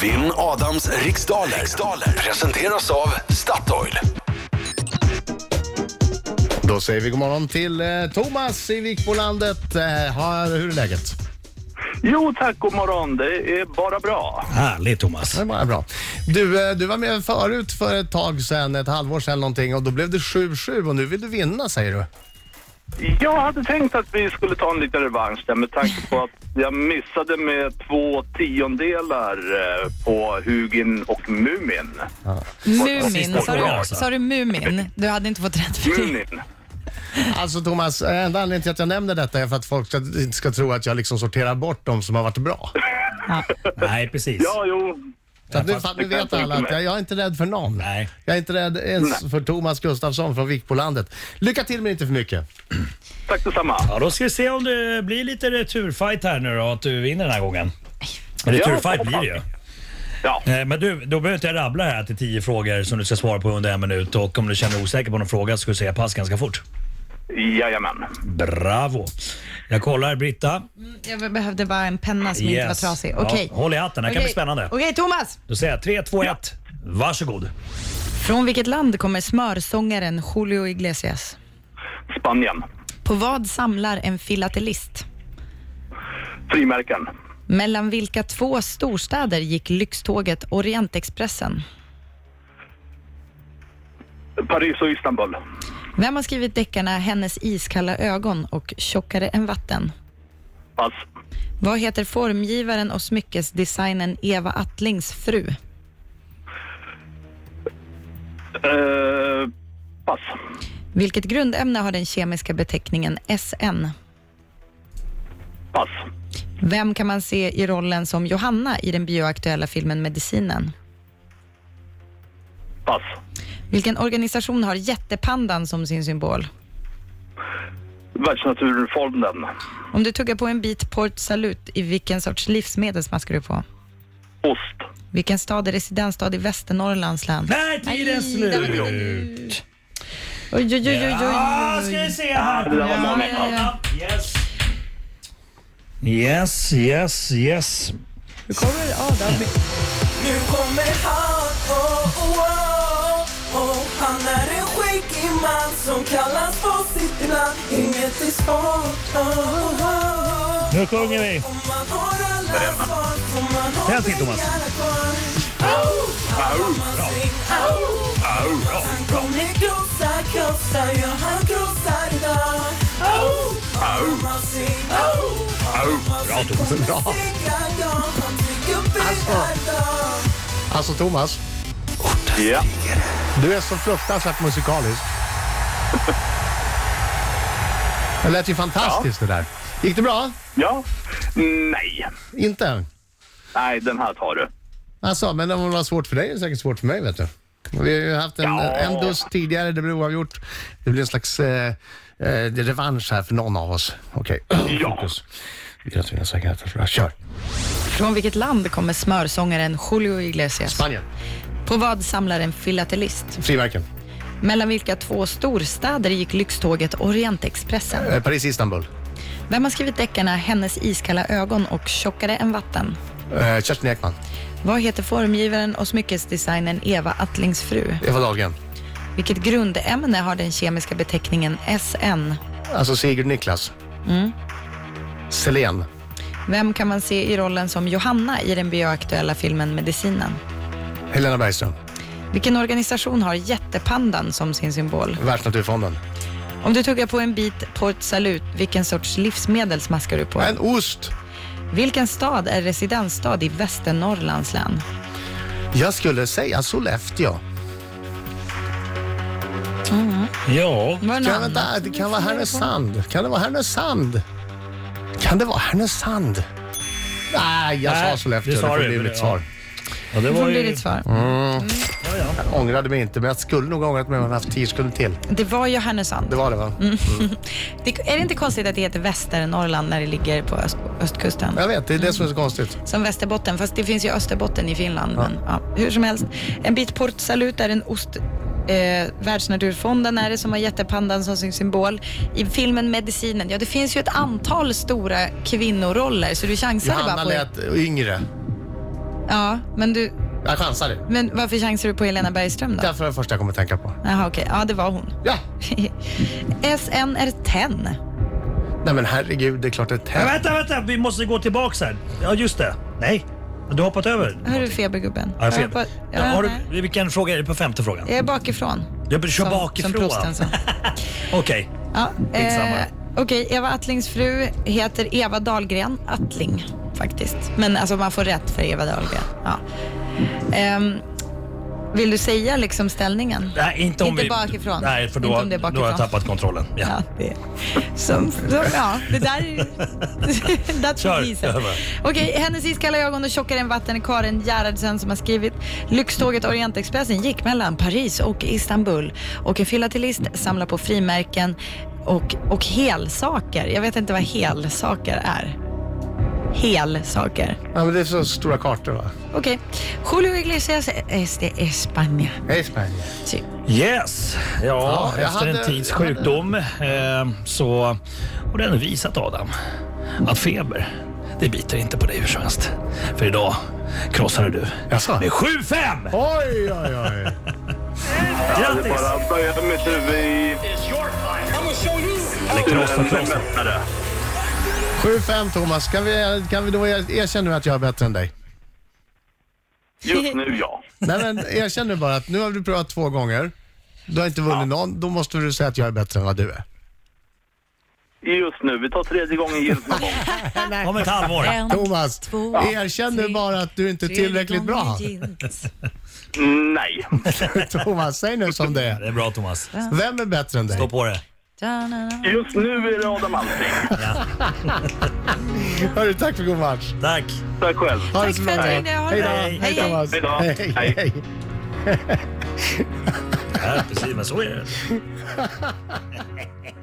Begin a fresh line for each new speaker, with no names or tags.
Vinn Adams riksdaler. riksdaler presenteras av Statoil.
Då säger vi god morgon till eh, Thomas i Vikbolandet. Eh, ha- hur är läget?
Jo tack, god morgon. Det är bara bra.
Härligt Thomas.
Alltså, Det var bra. Du, eh, du var med förut för ett tag sedan, ett halvår sedan någonting och då blev det 7-7 och nu vill du vinna säger du.
Jag hade tänkt att vi skulle ta en liten revansch där med tanke på att jag missade med två tiondelar eh, på Hugin och Mumin.
Mumin. Sa
frågan,
du,
alltså.
sa du Mumin? Du hade inte fått rätt för det.
Mumin.
Alltså Thomas, eh, enda anledningen till att jag nämner detta är för att folk ska, inte ska tro att jag liksom sorterar bort de som har varit bra.
Nej, precis.
Ja, jo.
Så att nu, för att nu
det kan
vet
jag
alla
tänka
att jag, jag är inte rädd för någon.
Nej.
Jag är inte rädd ens för Thomas Gustafsson från Vikbolandet. Lycka till men inte för mycket.
Tack detsamma.
Ja, då ska vi se om det blir lite returfight här nu då, att du vinner den här gången. Returfight blir det ju.
Ja.
Eh, Men du, då behöver inte jag rabbla här till tio frågor som du ska svara på under en minut och om du känner dig osäker på någon fråga så ska du säga pass ganska fort.
Jajamän.
Bravo! Jag kollar Britta.
Jag behövde bara en penna som inte var
Yes.
trasig.
Ja,
Okej.
håll i hatten, det här kan bli
Okej.
spännande.
Okej, Thomas.
Då säger jag 3, 2, 1. Varsågod.
Från vilket land kommer smörsångaren Julio Iglesias?
Spanien.
På vad samlar en filatelist?
Frimärken.
Mellan vilka två storstäder gick lyxtåget Orientexpressen?
Paris och Istanbul.
Vem har skrivit deckarna Hennes iskalla ögon och Tjockare än vatten?
Pass.
Vad heter formgivaren och smyckesdesignern Eva Attlings fru?
Eh, pass.
Vilket grundämne har den kemiska beteckningen SN?
Pass.
Vem kan man se i rollen som Johanna i den bioaktuella filmen Medicinen?
Pass.
Vilken organisation har jättepandan som sin symbol?
Världsnaturfonden.
Om du tuggar på en bit Port Salut, i vilken sorts livsmedel smaskar du på?
Ost.
Vilken stad är residensstad i Västernorrlands län?
Nej, tiden är
Nej, där var det
slut!
Oj, oj, oj, oj, oj.
Ja, Ah, ska vi se här.
Det där var
Ja,
många.
ja, ja.
Yes. Yes, yes, yes.
Nu kommer han, oh, oh, oh, oh. Han är en skäggig man som kallas på sitt namn Inget är svårt, oh, oh, oh.
Nu sjunger vi.
Om man har alla svar får man ha
Tänd till, Thomas.
pengarna kvar. Au, au, sing, au. Han kommer krossa, krossa, ja han krossar idag Au, au, man sing, au, au. Bra,
Thomas. Bra.
Han fick upp idag
Alltså Thomas,
Ja.
du är så fruktansvärt musikalisk. Det lät ju fantastiskt det där. Gick det bra?
Ja. Nej.
Inte?
Nej, den här tar du.
Alltså, men om det var svårt för dig är det säkert svårt för mig vet du. Och Vi har ju haft en,
Ja.
en duss tidigare, det blev oavgjort. Det blir en slags eh, eh, revansch här för någon av oss. Okej,
Ja.
fokus. Vi har tvingats säga att jag Kör!
Från vilket land kommer smörsångaren Julio Iglesias?
Spanien,
På vad samlar en filatelist?
frimärken.
Mellan vilka två storstäder gick lyxtåget Orientexpressen?
Eh, Paris, Istanbul.
Vem har skrivit deckarna Hennes iskalla ögon och Tjockare än vatten?
Eh, Kerstin Ekman,
Vad heter formgivaren och smyckesdesignern Eva Attlings fru?
Eva Dahlgren.
Vilket grundämne har den kemiska beteckningen SN?
Alltså Sigurd Niklas.
Mm.
Selén.
Vem kan man se i rollen som Johanna i den bioaktuella filmen Medicinen?
Helena Bergström.
Vilken organisation har jättepandan som sin symbol?
Världsnaturfonden.
Om du tuggar på en bit Port Salut, vilken sorts livsmedel smaskar du på?
En ost!
Vilken stad är residensstad i Västernorrlands län?
Jag skulle säga Sollefteå.
Ja.
Var det
Kan, jag-
någon annan?
vänta, det kan vara Härnösand. Kan det vara Härnösand? Kan det vara Härnösand? Nej, jag
Nej,
sa Sollefteå.
det
Det,
sa
får
du,
bli
men
mitt
det-
svar.
ja det
Det
var
får bli
ju...
ditt svar.
Jag ångrade mig inte, men jag skulle nog ha ångrat mig om jag hade haft tio sekunder till.
Det var ju Härnösand.
Det var det, va?
Det, är det inte konstigt att det heter Västernorrland när det ligger på öst, östkusten?
Jag vet, det är det som är så konstigt.
Som Västerbotten, fast det finns ju Österbotten i Finland. Men, ja, hur som helst, en bit Port Salut är en ost... Eh, Världsnaturfonden är det som har jättepandan som sin symbol. I filmen Medicinen, ja det finns ju ett antal stora kvinnoroller så du chansade bara
Johanna
på...
lät yngre.
Ja, men du...
Jag chansade.
Men varför chansar du på Helena Bergström då?
Därför är det första jag kommer tänka på.
Jaha, okej. Ja, det var hon.
Ja!
SN är 10.
Nej men herregud, det är klart det är
Men
tätt.
vänta, vänta! Vi måste gå tillbaks här. Ja, just det. Nej, du har hoppat över.
Hör du febergubben?
Ja, jag har
hoppa-
fel.
Ja,
Ja, har
nej.
du, vilken fråga är det på femte frågan?
Jag är bakifrån.
Jag kör
som-
bakifrån.
Som prosten sa.
Okej.
Ja,
Skitsamma.
eh, Okej, Eva Attlings fru heter Eva Dahlgren Attling faktiskt. Men alltså man får rätt för Eva Dahlgren. Ja. Ehm, vill du säga liksom ställningen?
Nej, inte om
Inte
vi,
bakifrån.
Nej, för då,
Inte om det är
då har
bakifrån.
jag tappat kontrollen. Ja.
Ja, det, som, som, ja, det där... That's
Kör,
what he said.
över.
Okej, hennes iskalla ögon och tjockare än vatten är Karin Gerhardsen som har skrivit Lyxtåget Orientexpressen gick mellan Paris och Istanbul och en filatelist samlar på frimärken och, och helsaker. Jag vet inte vad helsaker är. Helsaker.
Ja, men det är så stora kartor va?
Okej. Julio Iglesias es de España. Typ.
Hej Spanien.
Ty-
Yes! Ja,
jag
efter
hade-
en tids
jag hade-
sjukdom eh, så har den visat Adam att feber, det biter inte på dig hur som helst. För idag krossade du
Jaså?
med 7-5!
Oj, oj, oj.
Det är
Grattis!
bara böja mitt huvud i...
Eller krossa,
en
krossa.
mästare.
7-5 Thomas. Kan vi, kan vi då er- erkänna nu att jag är bättre än dig?
Just nu, ja.
Nej men erkänn nu bara att nu har du prövat två gånger. Du har inte vunnit någon. Då måste du säga att jag är bättre än vad du är.
Just nu. Vi tar tredje gången gillt någon gång.
Om ett halvår.
Thomas,
två,
erkänn nu bara att du inte är tillräckligt bra.
Nej.
Thomas, säg nu som det
Det
är.
är bra Thomas.
Vem är bättre än dig?
Stå på det.
Just nu är det Adam Alsing.
Hörru, tack för god match.
Tack!
Tack själv.
Ha det
Tack
så
för
bra.
att du
Hej
ringde.
då.
Ha det bra.
Hej
Hej, hej.
Thomas.
Hej
Hej,
då. Hej.
hej.
Ja, precis, men så är det.